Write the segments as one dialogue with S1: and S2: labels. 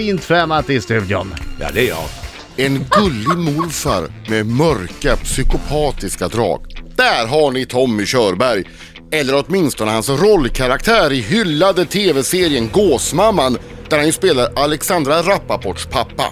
S1: Fint tränat i studion.
S2: Ja, det är jag.
S3: En gullig morfar med mörka psykopatiska drag. Där har ni Tommy Körberg. Eller åtminstone hans rollkaraktär i hyllade tv-serien Gåsmamman där han ju spelar Alexandra Rappaports pappa.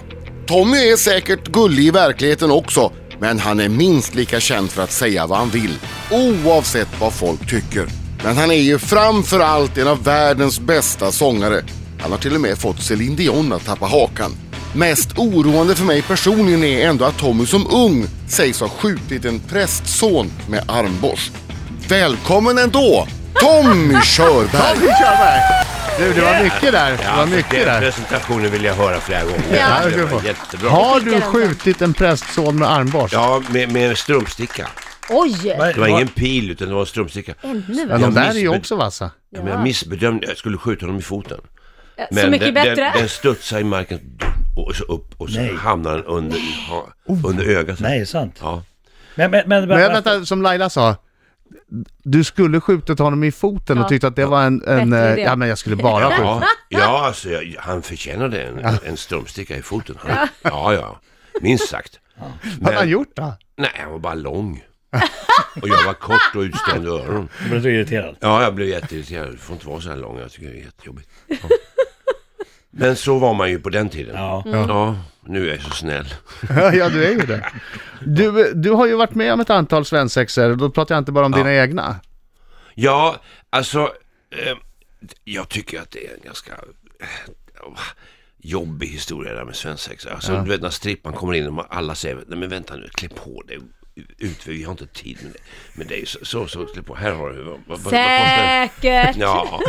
S3: Tommy är säkert gullig i verkligheten också men han är minst lika känd för att säga vad han vill oavsett vad folk tycker. Men han är ju framför allt en av världens bästa sångare. Han har till och med fått Céline Dion att tappa hakan. Mest oroande för mig personligen är ändå att Tommy som ung sägs ha skjutit en prästson med armborst. Välkommen ändå, Tommy Körberg!
S1: Vi kör med. Du, det var mycket där. Det var mycket
S2: den
S1: där.
S2: presentationen vill jag höra flera gånger.
S1: Ja, det
S2: Det
S1: ska du
S2: var
S1: få.
S2: jättebra.
S1: Har du skjutit en prästson med armborst?
S2: Ja, med, med en strumpsticka.
S4: Oj!
S2: Det var ingen pil utan det var en strumpsticka.
S4: Ännu
S1: Men
S4: värre.
S1: de där är ju
S2: missbed-
S1: också vassa.
S2: Ja, men jag missbedömde, jag skulle skjuta honom i foten. Men
S4: Så mycket
S2: den,
S4: bättre.
S2: Den, den studsade i marken och så upp och så
S5: Nej.
S2: hamnade den under, ha, under ögat.
S5: Nej, det är sant.
S2: Ja.
S5: Men, men, men,
S1: Men jag vänta, som Laila sa. Du skulle skjutit honom i foten och
S4: Ja.
S1: tyckte att det var en... en
S4: Bättre
S1: eh,
S4: idé.
S1: ja, men jag skulle bara skjuta.
S2: Ja, ja alltså, jag, han förtjänade en, en strumpsticka i foten. Han, ja, ja. Minst sagt.
S1: Vad hade han gjort då?
S2: Nej, han var bara lång. Och jag var kort och utstående öron.
S5: Jag blev så irriterad.
S2: Ja, jag blev jätteirriterad. Du får inte vara så här lång. Jag tycker det är jättejobbigt. Ja. Men så var man ju på den tiden. Mm.
S5: Ja.
S2: Ja, nu är jag så snäll.
S1: ja, du är ju det. Du, du har ju varit med om ett antal svensexor, och då pratar jag inte bara om dina egna.
S2: Ja, alltså. Eh, jag tycker att det är en ganska eh, jobbig historia det där med svensexa. Alltså, Du vet när strippan kommer in och man- alla säger Nej men vänta nu, klä på dig. Ut, vi har inte tid med dig. Med dig. Så, så, så klä på. Här har du. Vad, vad, vad kostar det?
S4: Säkert!
S2: Ja.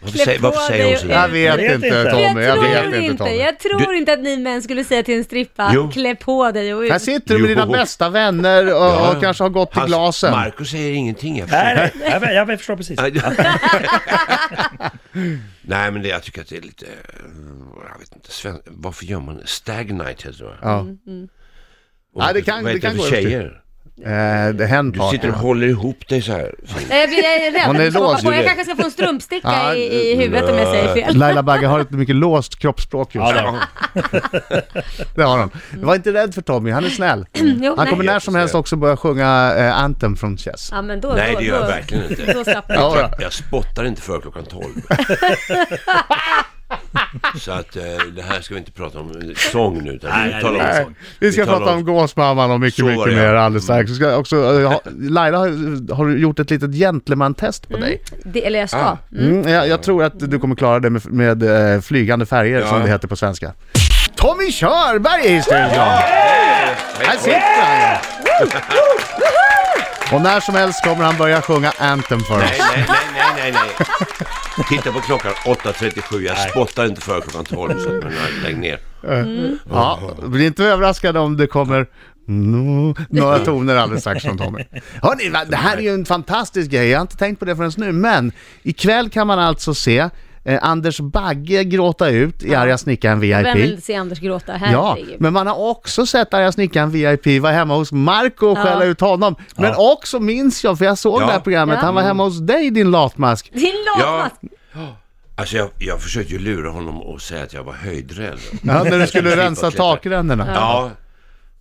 S2: Varför,
S4: Klä
S2: säger-
S4: på
S2: varför säger
S4: dig
S2: hon
S4: och
S2: så
S1: Jag
S2: där?
S1: vet,
S5: vet
S1: inte,
S5: inte.
S1: Tommy. Jag,
S4: jag tror
S1: vet inte
S4: inte,
S1: Tommy.
S4: jag tror inte att ni män skulle säga till en strippa,
S2: Jo.
S4: klä på dig och ut.
S1: Här sitter du med dina
S2: Jo.
S1: bästa vänner och,
S2: Ja, ja.
S1: och kanske har gått i
S2: Hans-
S1: glasen.
S2: Marcus säger ingenting. Jag
S5: Nej,
S2: förstår.
S5: nej, jag, vet- jag förstår precis.
S2: Nej, men det, jag tycker att det är lite... eh, Jag vet inte, sven, varför gör man det? Stagnite heter det va?
S1: Ja.
S2: Och
S1: Nej, det kan-
S2: vad
S1: det
S2: heter
S1: kan
S2: för
S1: gå
S2: tjejer?
S1: Eh, det händer
S2: Du sitter och håller ihop dig så här. fint.
S4: Nej, Eh, jag, blir, jag är rädd
S1: Hon
S4: att
S1: är
S4: jag ska hoppa
S1: låst,
S4: på.
S2: du
S4: Jag
S2: vet.
S4: kanske ska få en strumpsticka
S1: Ja,
S4: i, i huvudet om jag säger fel.
S1: Laila Bagge har ett mycket låst kroppsspråk just
S5: Ja,
S1: nu.
S5: det var-
S1: Det har hon. Var inte rädd för Tommy, han är snäll.
S4: Mm, Jo,
S1: Han
S4: nej.
S1: kommer när som helst också börja sjunga eh, Anthem från Chess.
S4: Ja, men då,
S2: Nej,
S4: då,
S2: det gör jag
S4: då,
S2: verkligen inte.
S4: Då slapp jag.
S1: Ja,
S2: Jag spottar inte före klockan 12. så att eh, det här ska vi inte prata om eh, sång nu. Utan
S5: Nej,
S2: vi
S5: nej,
S2: talar om
S5: nej.
S2: sång.
S1: Vi ska
S2: talar
S1: prata om Gåsmamman och mycket,
S2: Så var
S1: mycket
S2: det,
S1: mer
S2: ja.
S1: alldeles strax. Vi ska också, eh, ha, Laila har, har gjort ett litet gentlemantest på dig.
S4: Det, eller jag ska.
S2: Ah.
S1: Mm, jag, jag tror att du kommer klara det med, med eh, flygande färger som
S2: Ja.
S1: det heter på svenska. Tommy Körberg är i studion! Här sitter han ju. Och när som helst kommer han börja sjunga Anthem för
S2: Nej,
S1: oss.
S2: nej, nej, nej, nej, nej. Titta på klockan 8.37. Jag spottar inte före klockan 12 så att man lägger ner.
S1: Ja, bli inte överraskad om det kommer no, några toner alldeles strax från Tommy. Hörrni, va, det här är ju en fantastisk grej. Jag har inte tänkt på det förrän nu, men ikväll kan man alltså se eh, Anders Bagge gråta ut i Arga snickaren VIP.
S4: Vem vill se Anders gråta?
S1: Ja,
S4: Herregud.
S1: men man har också sett Arga snickaren VIP vara hemma hos Marco och
S4: Ja.
S1: skälla ut honom. Men också minns jag, för jag såg
S2: Ja.
S1: det här programmet,
S4: Ja.
S1: han var hemma hos dig din latmask.
S4: Din
S2: Ja.
S4: latmask!
S2: Alltså jag, jag försökte ju lura honom och säga att jag var höjdrädd.
S1: Ja, när du skulle
S2: Slippa
S1: rensa
S2: klättra.
S1: takrännorna.
S2: Ja.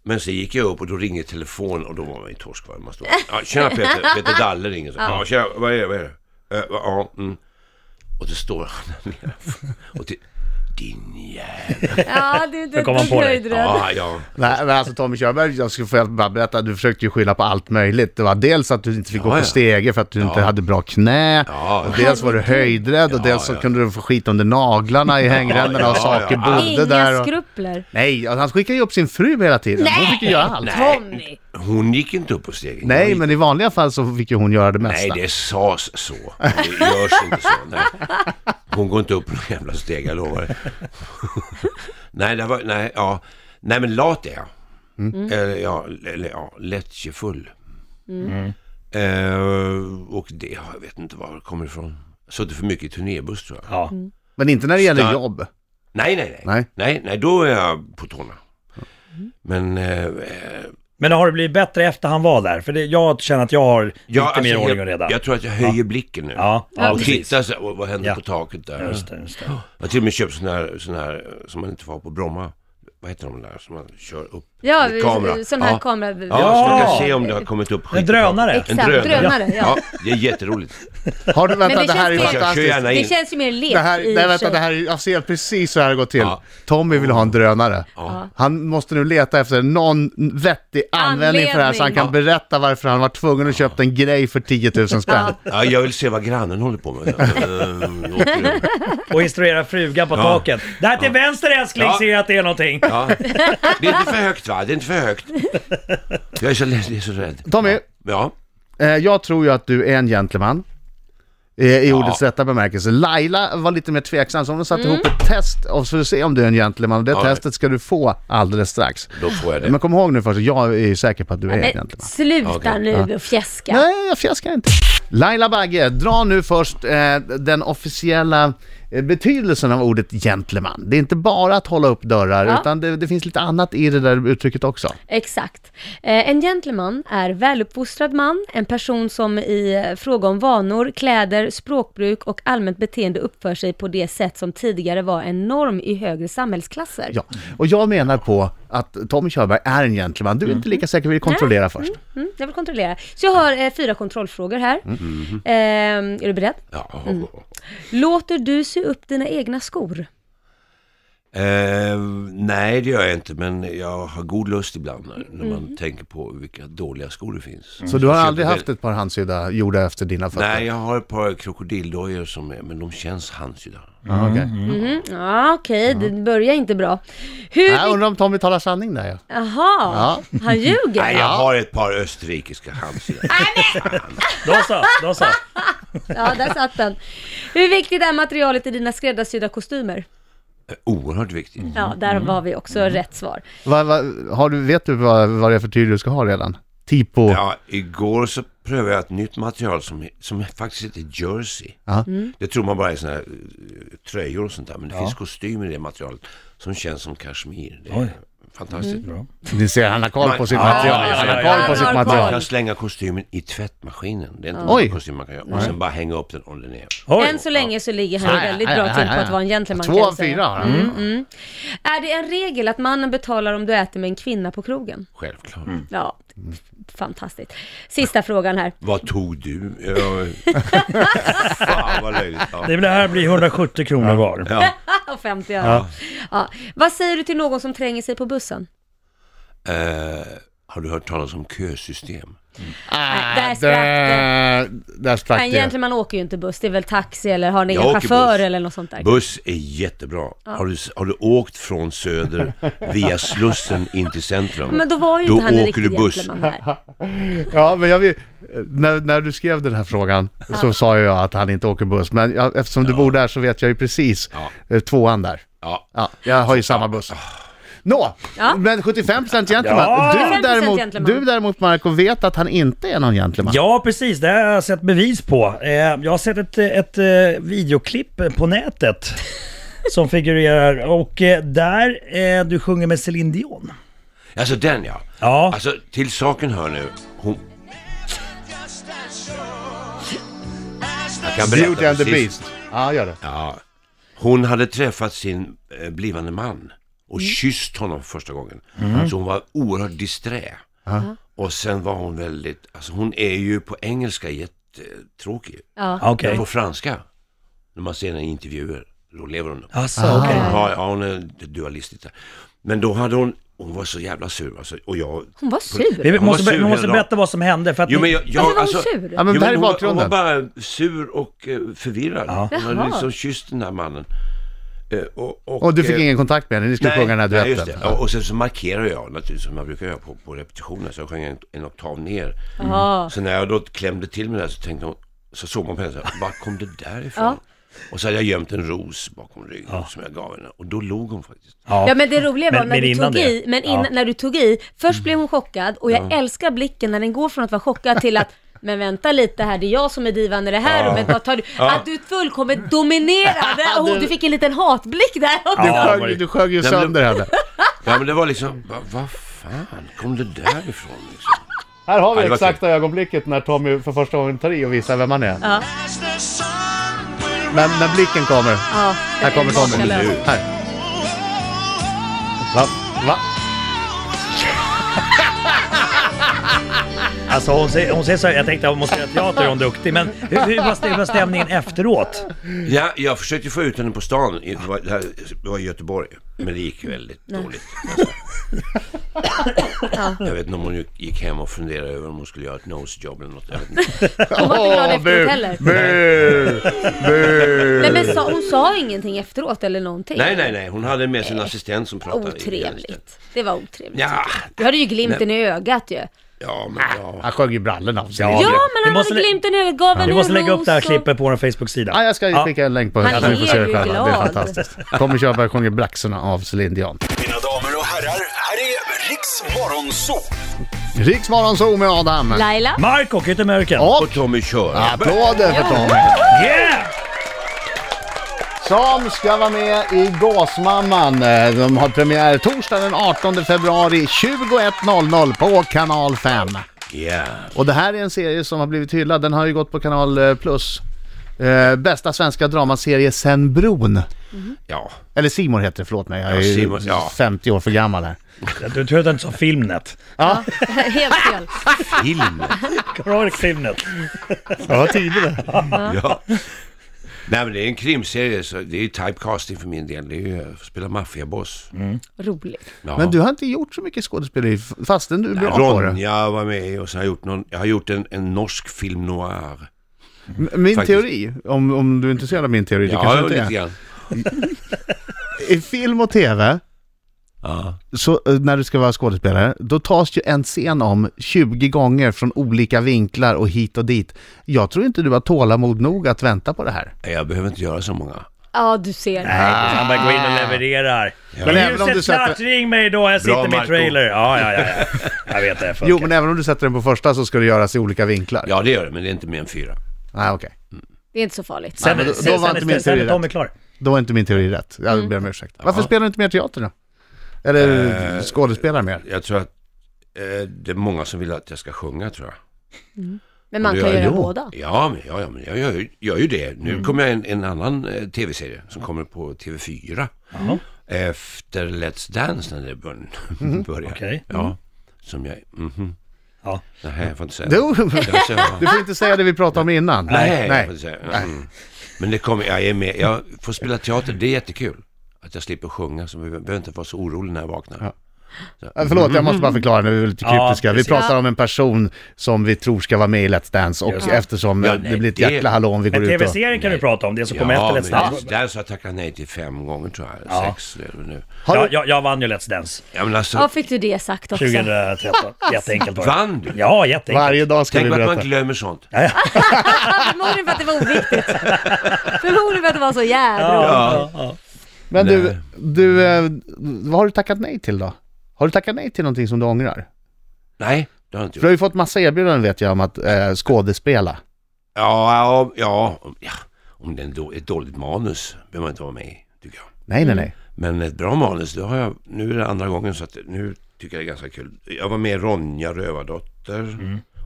S2: Men så gick jag upp och då ringer telefonen och då var man ju torskvarm. Man stod- Ja, tjena Peter, Peter Dalle ringer. Så. Ja, tjena, vad är det? Vad är det? Eh, va- ja, mm. Och då står han där nere och till, Din jävel.
S4: Ja, du, du,
S5: Nu kom han
S4: du
S5: på dig.
S4: höjdrädd.
S2: Ja, ja.
S1: Nej, men alltså Tommy Körberg, jag ska få bara berätta, du försökte ju skylla på allt möjligt. Det var dels att du inte fick gå
S2: Ja,
S1: på
S2: ja.
S1: stege för att du inte hade bra knä.
S2: Ja,
S1: Och dels var du höjdrädd och dels så
S2: ja.
S1: kunde du få skit under naglarna i hängrännorna och
S2: ja,
S1: saker
S2: ja.
S1: bodde där.
S4: Inga
S1: Och...
S4: skrupler.
S1: Nej, och han skickade ju upp sin fru hela tiden. Hon fick ju göra allt.
S4: Tommy!
S2: Hon gick inte upp på stegen. Hon
S1: Nej,
S2: gick-
S1: men i vanliga fall så fick ju hon göra det mesta.
S2: Nej, det sades så. Det görs inte så. Nej. Hon går inte upp några jävla steg, jag lovar. det. nej, det var, nej, ja. nej, men lat är jag. Eller, ja, eller ja, lättjefull. Eh, och det, ja, jag vet inte var det kommer ifrån. Suttit för mycket i turnébuss tror jag.
S5: Ja.
S1: Men inte när det gäller
S2: Star-
S1: jobb.
S2: Nej, nej, nej.
S1: Nej.
S2: Nej, nej, då är jag på tårna. Men eh, eh,
S5: Men har det blivit bättre efter han var där? För det, jag känner att jag har lite
S2: alltså,
S5: mer ordning och
S2: jag,
S5: reda.
S2: jag tror att jag höjer blicken nu.
S5: Ja, ja,
S2: och
S5: precis.
S2: tittar så här, vad, vad händer
S5: Ja.
S2: på taket där?
S5: Just det, just det.
S2: Jag har till och med köpt sån här, sån här eh, som man inte får ha på Bromma. Vad heter de där som man kör upp
S4: Ja,
S2: med
S4: vi- sån här kamera.
S2: Ja, så man kan se om det har kommit upp skit.
S5: En drönare.
S2: i taket.
S4: Exakt, drönare,
S2: Ja,
S4: ja.
S2: det är jätteroligt.
S1: Har du, vänta,
S4: Men
S1: det,
S4: det
S1: här är
S4: känns
S2: Jag
S4: mer-
S2: kör
S1: fantastiskt.
S2: gärna
S4: Det
S2: in.
S4: känns ju mer lek
S1: Det här,
S4: i
S1: nej
S4: och för
S1: vänta,
S4: sig.
S1: det här, är- jag ser precis så här det går till.
S2: Ja.
S1: Tommy vill ha en drönare.
S2: Ja.
S1: Han måste nu leta efter någon vettig användning för det här så han kan
S4: Anledning.
S1: berätta varför han var tvungen att köpa en grej för 10 000 spänn.
S2: Ja, jag vill se vad grannen håller på med. Ehm, åker runt.
S5: Och instruera frugan på taket. Där till vänster älskling
S2: Ja.
S5: ser jag att det är någonting.
S2: Ja. Det är inte för högt va? Det är inte för högt. Jag är så, jag är så rädd.
S1: Tommy,
S2: Ja.
S1: eh, jag tror ju att du är en gentleman. eh, I ordets rätta bemärkelse. Laila var lite mer tveksam, så hon har satt
S4: Mm.
S1: ihop ett test och så får vi se om du är en gentleman. Och det
S2: Ja.
S1: testet ska du få alldeles strax.
S2: Då får jag det.
S1: Men kom ihåg nu först, jag är ju säker på att du är en
S4: Men
S1: gentleman.
S4: Eh, sluta
S2: Okej.
S4: nu och fjäska.
S1: Nej, jag fjäskar inte. Laila Bagge, dra nu först eh, den officiella eh, betydelsen av ordet gentleman. Det är inte bara att hålla upp dörrar,
S4: Ja.
S1: utan det, det finns lite annat i det där uttrycket också.
S4: Exakt. Eh, En gentleman är väluppfostrad man, en person som i eh, fråga om vanor, kläder, språkbruk och allmänt beteende uppför sig på det sätt som tidigare var en norm i högre samhällsklasser.
S1: Ja. Och jag menar på att Tommy Körberg är en gentleman. Du är inte lika säker, vi kontrollerar först.
S4: Mm, jag vill kontrollera. Så jag har eh, fyra kontrollfrågor här. Eh, är du beredd?
S2: ja.
S4: Låter du sy upp dina egna skor?
S2: Ehm, nej, det gör jag inte. Men jag har god lust ibland när, när
S4: Mm.
S2: man tänker på vilka dåliga skor det finns.
S1: Så du har
S2: Jag
S1: aldrig
S2: köper
S1: haft ett par handsydda gjorda efter dina fötter?
S2: Nej, jag har ett par krokodildojor som är, men de känns handsydda.
S1: Ja, okej.
S4: Mm. Ja, okej, det börjar inte bra. Hur...
S1: Nej, Jag undrar om Tommy talar sanning där. Ja.
S4: Jaha, han ljuger?
S2: Nej, jag
S1: Ja.
S2: har ett par österrikiska handsydda.
S5: Då så, då så.
S4: Ja, där satt den. Hur viktigt är materialet i dina skräddarsydda kostymer?
S2: Eh, Oerhört viktigt.
S4: Ja, där var vi också rätt svar.
S1: Va, va, har du, vet du vad, vad det är för tyg du ska ha redan? Tipo?
S2: Ja, igår så prövade jag ett nytt material som, som faktiskt heter Jersey.
S1: Ja.
S2: Det tror man bara är såna här eh, tröjor och sånt där. Men det finns kostymer i det materialet som känns som kashmir. Det är
S5: Oj.
S2: fantastiskt bra.
S1: Ni ser, han har koll på sitt
S2: Ja,
S1: material.
S5: ja, ja,
S1: Han har
S5: ja,
S1: koll
S4: ja.
S1: på sitt
S4: Han har
S1: material.
S2: Man kan slänga kostymen i tvättmaskinen. Det är inte
S1: Oj.
S2: många kostymer man kan göra. Och sen bara hänga upp den om den är...
S5: Oj.
S4: Än så länge så ligger han ju
S1: Ja,
S4: väldigt
S1: ja,
S4: bra
S1: ja,
S4: till
S1: ja,
S4: på
S1: ja.
S4: att vara en gentleman. kan
S1: Två
S4: jag
S1: av
S4: säga. Mm.
S1: fyra har han.
S4: Är det en regel att mannen betalar om du äter med en kvinna på krogen?
S2: Självklart.
S4: Ja, f- fantastiskt. Sista frågan här.
S2: Vad tog du? Ja. Fan vad löjligt. Ja.
S5: Det här blir 170 kronor var.
S2: Ja.
S4: Och 50 öre. Ja. Vad säger du till någon som tränger sig på bussen?
S2: Eh, har du hört talas om kösystem?
S1: Ah,
S4: där sprack det.
S1: där- Där sprack
S4: En
S1: det.
S4: gentleman åker ju inte buss, det är väl taxi eller har en
S2: Jag
S4: egen
S2: åker
S4: chaufför
S2: buss.
S4: eller något sånt där.
S2: Buss är jättebra. Har, du, har du åkt från Söder via Slussen in till centrum?
S4: Men då var ju
S2: Då
S4: inte han en
S2: åker
S4: riktig
S2: du buss.
S4: gentleman här.
S1: Ja, men jag vill, när, när du skrev den här frågan så sa jag att han inte åker buss, men jag, eftersom du bor där så vet jag ju precis eh, tvåan där.
S2: Ja.
S1: Ja, jag har ju samma buss. Nå,
S4: Ja.
S1: men 75% gentleman.
S5: Ja.
S1: Du,
S4: 75%
S1: däremot,
S4: gentleman.
S1: du däremot Marco vet att han inte är någon gentleman.
S5: Ja, precis. Det har jag sett bevis på. Eh, Jag har sett ett, ett eh, videoklipp på nätet som figurerar och eh, där eh, du sjunger med Céline Dion.
S2: Alltså den ja.
S5: Ja.
S2: Alltså till saken hör nu. Hon... Jag kan
S1: Beauty
S2: berätta
S1: and the
S2: precis.
S1: Beast. Ja, gör det.
S2: Ja. Hon hade träffat sin eh, blivande man och kysst honom för första gången. Så hon var oerhört disträ. Och sen var hon väldigt, alltså hon är ju på engelska jättetråkig.
S4: Ja.
S5: Okej.
S2: Men på franska, när man ser henne i intervjuer, då lever hon upp.
S5: Alltså,
S1: Ah.
S5: okej.
S2: Ja, ja, hon är dualistisk där. Men då hade hon, hon var så jävla sur alltså, och jag...
S4: Hon var sur.
S5: Vi
S2: Hon
S5: måste,
S2: var sur
S5: vi måste
S2: hela
S5: berätta vad som hände för att
S2: Jo,
S5: ni-
S2: men jag, jag,
S4: Varför var
S2: alltså,
S4: hon sur?
S1: Ja, men
S2: jo,
S1: det här är
S2: hon, var- hon var
S1: bakgrunden.
S2: bara sur och eh, förvirrad. Hon hade
S4: Jaha.
S2: liksom kysst den här mannen. Eh, och, och,
S1: Och du fick
S2: eh,
S1: ingen kontakt med henne, ni skulle sjunga den här
S2: nej, just
S1: duetten.
S2: det. Och, och sen så markerar jag naturligtvis som jag brukar göra på, på repetitioner. Så jag sjöng en, en oktav ner.
S4: Ja.
S2: Så när jag då klämde till mig där så tänkte hon, så såg man på henne så här, var kom det där ifrån?
S4: Ja.
S2: Och så hade jag gömt en ros bakom ryggen som jag gav henne. Och då log hon faktiskt.
S5: Ja.
S4: Ja men det roliga var
S5: Men-
S4: när,
S5: men
S4: du
S5: innan
S4: tog
S5: det.
S4: i, men innan,
S5: Ja. Mm.
S4: när du tog i, först blev hon chockad och jag älskar blicken när den går från att vara chockad till att men vänta lite här, det är jag som är divan i det här rummet, vad tar du? Att du fullkomligt dominerade och hon, du fick en liten hatblick där också.
S1: Du
S5: Ja,
S1: sjöng,
S5: Marie.
S1: du sjöng ju
S2: Nej, men-
S1: sönder henne.
S2: Ja men det var liksom, vad va, fan fan kom det där ifrån liksom?
S1: Här har vi
S2: Ja, det var
S1: exakta ögonblicket när Tommy för första gången tar i och visar vem han är.
S4: Ja.
S1: När, när blicken kommer.
S4: Ja,
S1: Här kommer Tommy.
S4: makalös.
S1: Här. Va? Va?
S5: Alltså hon säger, hon säger så här, jag tänkte hon måste göra teater, hon är duktig. Men hur, hur, var, stä- hur var stämningen efteråt?
S2: Ja, jag försökte få ut henne på stan. i- Det var, det här, det var i Göteborg. Men det gick ju väldigt dåligt. Alltså. Jag vet inte om hon gick hem och funderade över om hon skulle göra ett nosejob eller något. Jag vet inte.
S4: Hon var inte glad efteråt heller.
S1: Bu! Bu!
S4: Nej, men sa, hon sa ingenting efteråt eller någonting?
S2: Nej, nej, nej. Hon hade med sin assistent som pratade. i-
S4: Otrevligt. Det var otrevligt.
S2: Ja,
S4: Du hade ju glimten i ögat ju.
S2: ja, men ja.
S1: Han sjöng ju brallorna av sig.
S4: Ja,
S5: Vi
S4: men han
S5: måste
S4: hade
S5: lä-
S4: glimten i ögat, gav henne
S5: Du måste
S4: en
S5: lägga upp det här
S4: ros och-
S5: klippet på vår Facebook-sida.
S1: Ja, jag ska skicka en länk på
S4: Han
S1: hur ni får se
S4: är
S1: det
S4: ju
S1: själva. Det är
S4: glad.
S1: fantastiskt. Tommy Körberg sjunger Braxorna av Céline Dion.
S6: Mina damer och herrar, här är Riks Morgonzoo!
S1: Riks Morgonzoo med Adam.
S4: Laila?
S5: Marco, Kyttemörken!
S1: Och
S2: Och Tommy kör.
S1: applåder för Tommy.
S5: Yeah!
S1: Som ska vara med i Gåsmamman. Eh, De har premiär torsdag den 18 februari 21.00 på kanal 5.
S2: Ja.
S1: Och det här är en serie som har blivit hyllad. Den har ju gått på kanal eh, plus. Eh, bästa svenska dramaserie sen bron.
S2: Ja.
S1: Eller Simon heter det, förlåt mig. Jag är ju
S2: Ja, Simon, ja.
S1: 50 år för gammal här.
S5: Du tror att den sa Filmnet.
S4: Helt fel.
S2: Film.
S5: Kommer du ihåg Filmnet?
S1: Ja, tidigare.
S2: Ja. Nej, men det är en krimserie. Så det är ju typecasting för min del. Det är ju eh, spela maffiaboss.
S4: Roligt.
S2: Ja.
S1: Men du har inte gjort så mycket skådespeleri f- fastän du är bra på det.
S2: Ronja var med och så har jag gjort, någon, jag har gjort en, en norsk film noir.
S1: M- Min
S2: faktiskt.
S1: teori, om, om du är intresserad av min teori, det
S2: Ja,
S1: kanske
S2: lite
S1: inte är.
S2: grann.
S1: I film och tv,
S2: Ja.
S1: så, eh, när du ska vara skådespelare, då tas ju en scen om 20 gånger från olika vinklar och hit och dit. Jag tror inte du har tålamod nog att vänta på det här.
S2: Jag behöver inte göra så många.
S4: Ja, du ser.
S5: Nej,
S1: Ah.
S5: han bara går in och levererar.
S1: Men
S5: Men
S1: även om du
S5: Ljuset
S1: sätter-
S5: klart, ring mig då, jag sitter med
S2: Marco.
S5: trailer. Ja, ja, ja, ja. Jag vet det,
S1: Jo,
S5: funkar.
S1: men även om du sätter den på första så ska det göras i olika vinklar.
S2: Ja, det gör det, men det är inte mer än fyra.
S1: Nej, Ah, okej.
S4: Det är inte så farligt.
S5: Sen,
S1: men då- då
S5: sen,
S1: var
S5: sen,
S1: inte
S5: sen,
S1: min
S5: sen,
S1: teori
S5: är
S1: rätt.
S5: Tommy klar.
S1: Då var inte min teori rätt. Jag ber om ursäkt. Varför spelar du inte mer teater då? Eller skådespelar mer?
S2: Jag tror att eh, det är många som vill att jag ska sjunga, tror jag.
S4: Men man
S2: Det
S4: kan
S2: gör
S4: göra
S2: jag.
S4: båda.
S2: Ja, men, ja, ja, men jag gör, ju- gör ju det.
S5: Mm.
S2: Nu kommer jag en, en annan eh, tv-serie som kommer på TV4. Efter Let's Dance när det bör, börjar.
S5: Mhm. Okej.
S2: Ja, som jag... mhm.
S5: Ja.
S2: Nej, jag får inte säga
S1: Du,
S2: Jag får säga-
S1: du får inte säga det vi pratade om innan.
S2: Nej, jag får
S1: Nej.
S2: inte säga. Mm. Men det kommer, jag är med. Jag får spela teater, det är jättekul. Att jag slipper sjunga, så jag behöver inte vara så orolig när jag vaknar.
S1: Ja, Förlåt, jag måste bara
S2: Mm-hmm.
S1: förklara nu, vi är lite
S5: Ja,
S1: kryptiska. vi
S5: precis.
S1: pratar om en person som vi tror ska vara med i Let's Dance och eftersom
S2: Ja,
S1: eh, det
S2: nej,
S1: blir ett
S2: det-
S1: jäkla hallå om vi går
S5: Men
S1: ut och...
S5: tv-serien kan du prata om, det som kommer
S2: Ja,
S5: efter
S2: men
S5: Let's Dance.
S2: just där så har jag tackat nej till fem gånger tror jag.
S5: Ja.
S2: Sex det är det nu.
S1: Har du-
S5: Jag, jag, jag vann ju Let's Dance
S2: Ja, men alltså,
S4: Ja, fick du det sagt också?
S5: 2013. Jätteenkelt var det.
S2: vann du?
S5: Ja, jätteenkelt.
S1: Varje dag ska vi
S2: Tänk på att
S1: berätta.
S2: man glömmer sånt.
S4: Förmodligen för att det var oviktigt. Förmodligen för att det var så jädra
S5: Ja,
S4: roligt.
S5: ja, ja.
S1: Men du,
S2: Nej.
S1: du, eh, vad har du tackat nej till då? Har du tackat nej till någonting som du ångrar?
S2: Nej, det har jag inte
S1: För du har
S2: gjort.
S1: ju fått massa erbjudanden vet jag om att eh, skådespela.
S2: Ja, ja, ja, om- ja. om det är en då- ett dåligt manus behöver man inte vara med i, tycker jag.
S1: Nej, nej, nej.
S2: Men ett bra manus, det har jag, nu är det andra gången så att nu tycker jag det är ganska kul. Jag var med i Ronja Rövardotter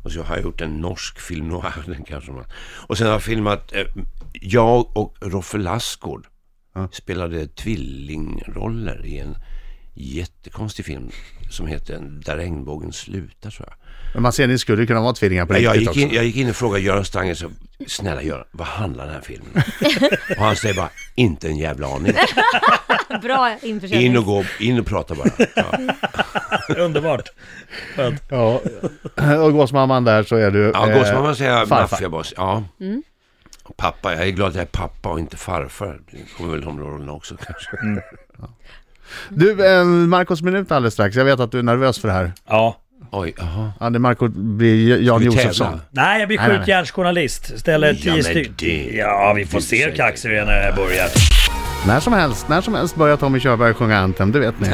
S2: och så har jag gjort en norsk film noir, den kanske man. Och sen har jag filmat, eh, jag och Roffe Lassgård spelade tvillingroller i en jättekonstig film som heter Där regnbågen slutar tror jag.
S1: Men man ser, ni skulle ju kunna vara tvillingar på
S2: Nej, jag,
S1: riktigt
S2: gick
S1: också.
S2: in, jag gick in och frågade Göran Stanger, så, snälla Göran, vad handlar den här filmen om? Och han säger bara, inte en jävla aning.
S4: Bra
S2: In och
S4: införsäljning.
S2: gå, in och prata bara. Ja.
S5: Underbart.
S1: Ja, och gåsmamman där så är du...
S2: Ja,
S1: eh,
S2: gåsmamma säger jag
S1: farfar. Mm.
S2: maffiaboss. Ja. Och Pappa, jag är glad att jag är pappa och inte farfar. Det kommer väl de rollerna också kanske.
S1: Mm. Du, eh, Marcos minut alldeles strax. Jag vet att du är nervös för det här.
S5: Ja.
S2: Oj, jaha.
S1: Ja, det Marco blir Jan
S2: Vi
S1: Josefsson.
S2: tävlar.
S5: Nej, jag blir
S1: Nej, nej, nej.
S5: skjutjärnsjournalist. Ställer
S2: Ja,
S5: tio
S2: men
S5: stycken.
S2: det-
S5: Ja, vi får
S2: det
S5: se hur
S2: säger-
S5: kaxig du är när jag börjar.
S1: När som helst, när som helst börjar Tommy Körberg sjunga Anthem, det vet ni.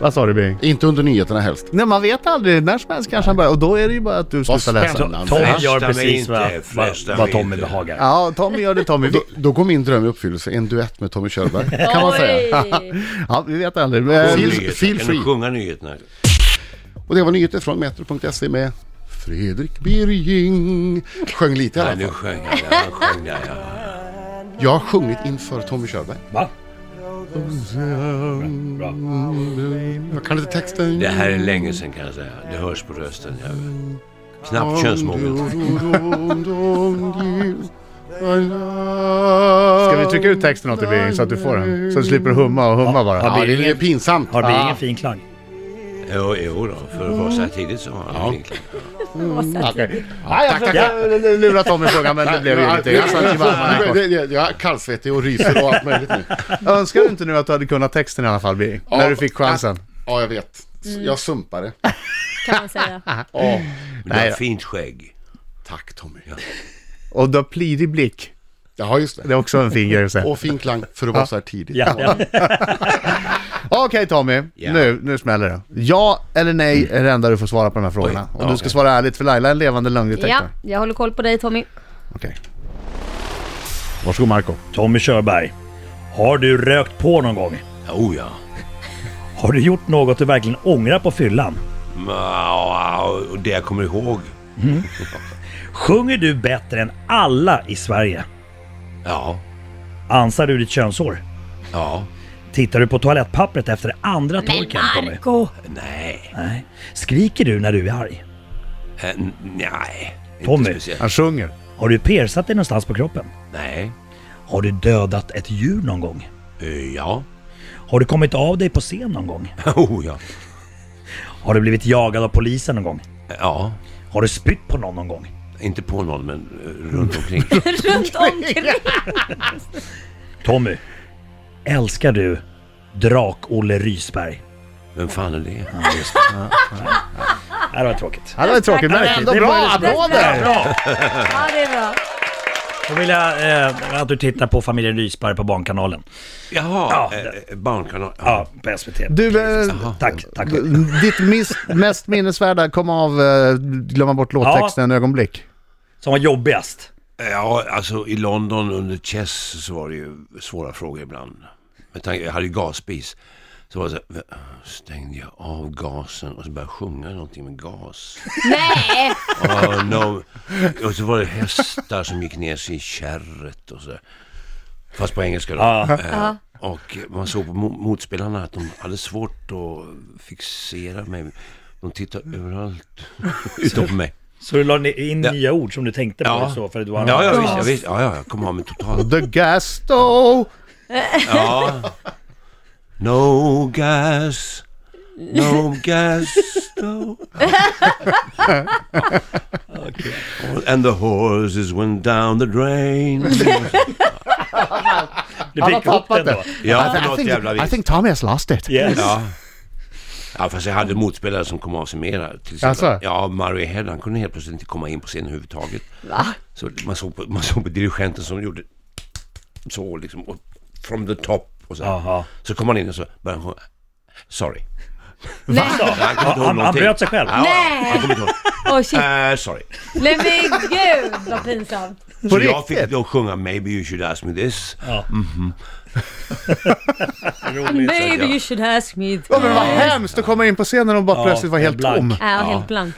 S1: Vad sa du Bing?
S3: Inte under nyheterna helst.
S1: Nej, man vet aldrig. När som helst kanske han börjar. Och då är det ju bara att du slutar
S3: spännande.
S1: läsa.
S5: Så Tommy gör
S2: Frästa mig
S5: precis
S2: inte,
S5: vad, vad,
S2: frästa
S5: vad
S2: mig
S5: Tommy
S2: inte.
S5: behagar.
S1: Ja, Tommy gör det Tommy.
S3: Då, då går min dröm i uppfyllelse, en duett med Tommy Körberg. Kan man säga.
S4: Oj!
S1: Ja, vi vet aldrig. Men...
S3: Feel-
S2: Nyheterna.
S3: feel
S2: Kan
S3: free.
S2: du sjunga nyheterna?
S3: Och det var nyheter från Metro.se med Fredrik Birging. Sjöng lite i alla
S2: Nej, nu
S3: fall.
S2: sjöng jag. där, Han sjöng där, ja.
S3: Jag har sjungit inför Tommy Körberg.
S5: Va? Bra. bra.
S3: Jag kan inte texten.
S2: Det här är länge sedan kan jag säga. Det hörs på rösten. Jag... Knappt könsmogen.
S1: Ska vi trycka ut texten åt dig Bing så att du får den? Så du slipper humma och humma bara.
S5: Ja,
S3: Ja, det är ju pinsamt.
S5: Har det ingen fin klang?
S2: Jo, jo då, för att vara så här tidigt så har han en fin klang.
S1: Okej. Ja, jag försökte lura Tommy i frågan men det blev ju ingenting. Jag satt ju bara med armarna i kors.
S3: Det- det- Jag är kallsvettig och ryser och allt möjligt nu.
S1: Önskar du inte nu att du hade kunnat texten i alla fall Bing? När du fick chansen.
S3: Ja, jag vet. Jag sumpade.
S4: Kan man säga.
S2: Men du
S1: Nej
S2: har
S1: då.
S2: fint skägg.
S3: Tack Tommy.
S1: Och du har plirig blick.
S3: Ja, just det.
S1: Det är också en fin grej att säga.
S3: Och fin klang för att vara så här tidigt.
S5: Ja, ja.
S1: Okej Tommy,
S2: Ja.
S1: nu, nu smäller det. Ja eller nej är det enda du får svara på de här frågorna. Och du ska svara ärligt för Laila är en levande
S4: Ja,
S1: lögndetektor.
S4: jag håller koll på dig Tommy.
S1: Okej. Varsågod Marco.
S5: Tommy Körberg, har du rökt på någon gång?
S2: Ja, Oh ja.
S5: Har du gjort något du verkligen ångrar på fyllan?
S2: Men, ja, Och det jag kommer ihåg.
S5: Sjunger du bättre än alla i Sverige?
S2: Ja,
S5: Ansar du ditt könshår?
S2: ja.
S5: Tittar du på toalettpappret efter andra torken, Tommy?
S4: Marco!
S2: Nej.
S5: Nej. Skriker du när du är arg?
S2: Eh, n- Nej. Inte
S5: Tommy.
S2: speciellt.
S1: Han sjunger.
S5: Har du persat dig någonstans på kroppen?
S2: Nej.
S5: Har du dödat ett djur någon gång?
S2: Eh, Ja.
S5: Har du kommit av dig på scen någon gång?
S2: Oh ja.
S5: Har du blivit jagad av polisen någon gång?
S2: Eh, Ja.
S5: Har du spytt på någon någon gång?
S2: Inte på någon, men eh, runt omkring.
S4: Runt omkring!
S5: Tommy, älskar du Drak-Olle Rysberg?
S2: Vem fan är det?
S5: Det här var tråkigt.
S1: Ja, det var tråkigt men ändå
S5: Det
S1: bra.
S5: var det-
S1: Applåder!
S5: Bra!
S4: Ja, det är bra.
S5: Då vill jag eh, att du tittar på familjen Rysberg på Barnkanalen.
S2: Jaha,
S5: Ja.
S2: eh, barnkanal.
S5: Ja, på SVT.
S1: Du, eh,
S5: Tack, tack.
S1: ditt mis- mest minnesvärda, kom av, eh, glömma bort låttexten en ögonblick.
S5: Som var jobbigast.
S2: Ja, alltså i London under Chess så var det ju svåra frågor ibland. Med tanke, jag hade ju gasspis. Så var det så här, stängde jag av gasen och så började jag sjunga någonting med gas.
S4: Nej!
S2: Oh, no. Och så var det hästar som gick ner sig i kärret och så. där. Fast på engelska då. Eh, och man såg på mo- motspelarna att de hade svårt att fixera mig. De tittade överallt, utom på mig.
S5: Så du la ni- in
S2: Ja.
S5: nya ord som du tänkte på och så för att du var
S2: ja, ja, visst, ja, visst. Ja, ja, jag kom av mig totalt.
S1: The Gasto!
S2: Ja. No gas. No gas. No. And the horses went down the drain.
S5: Du fick ihop den då.
S2: Ja, på
S1: I,
S2: något
S1: think,
S2: jävla
S1: I
S2: vis.
S1: think Tommy has lost it.
S5: Yes.
S2: Ja. ja, fast jag hade motspelare som kom av sig mera. Till exempel.
S1: Jaså?
S2: Ja, Mario Head, han kunde helt plötsligt inte komma in på scenen överhuvudtaget. Så man såg, på, man såg på dirigenten som gjorde så liksom, och from the top och så. här.
S5: Aha.
S2: Så kom han in och så började han sjunga. Sorry.
S4: Nej!
S2: Han kom inte ihåg
S5: Han, han
S2: någonting.
S5: bröt sig själv.
S2: Ja,
S4: Nej.
S2: Han kom inte ihåg.
S4: Åh shit.
S2: Eh, sorry.
S4: Nej men gud vad pinsamt.
S1: På
S2: Så jag
S1: riktigt?
S2: fick då sjunga Maybe you should ask me this. Mhm.
S4: Maybe you should ask me.
S1: Ja, men vad hemskt att komma in på scenen och bara
S5: Ja,
S1: plötsligt vara helt
S5: blank.
S1: tom.
S4: Ja, helt blank.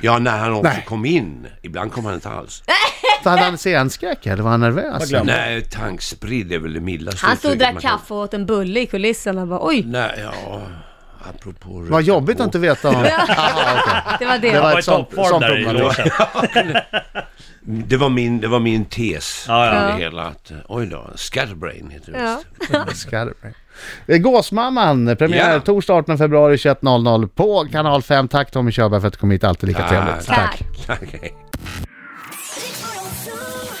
S2: Ja, när han också
S1: Nej.
S2: kom in. Ibland kom han inte alls.
S1: Så hade han scenskräck eller var han nervös?
S5: glömde.
S2: Nej, tankspridd är väl det mildaste
S4: Han stod och
S2: uttrycket
S4: drack
S2: man kan-
S4: kaffe och åt en bulle i kulissen och bara oj,
S2: Nej, ja... Apropå...
S1: Vad jobbigt att inte veta om... Aha, okej.
S4: det var
S1: Det
S4: det.
S1: var
S5: Han var i
S1: ett sånt-
S5: toppform
S1: sånt
S5: där i
S1: problem.
S5: logen.
S2: Det var min, det var min tes.
S5: Ja,
S2: till
S5: ja.
S2: Det hela att, eh, oj då, scatterbrain heter det
S4: Ja.
S2: visst.
S1: Skarp. Eh, Gåsmamman, premiär
S2: Ja.
S1: torsdag 18 februari 21.00 på kanal 5. Tack Tommy Körberg för att du kom hit, alltid lika
S2: Ah, Tack.
S1: trevligt.
S4: Tack.
S2: Tack, hej.
S7: Rick Morgonzoo.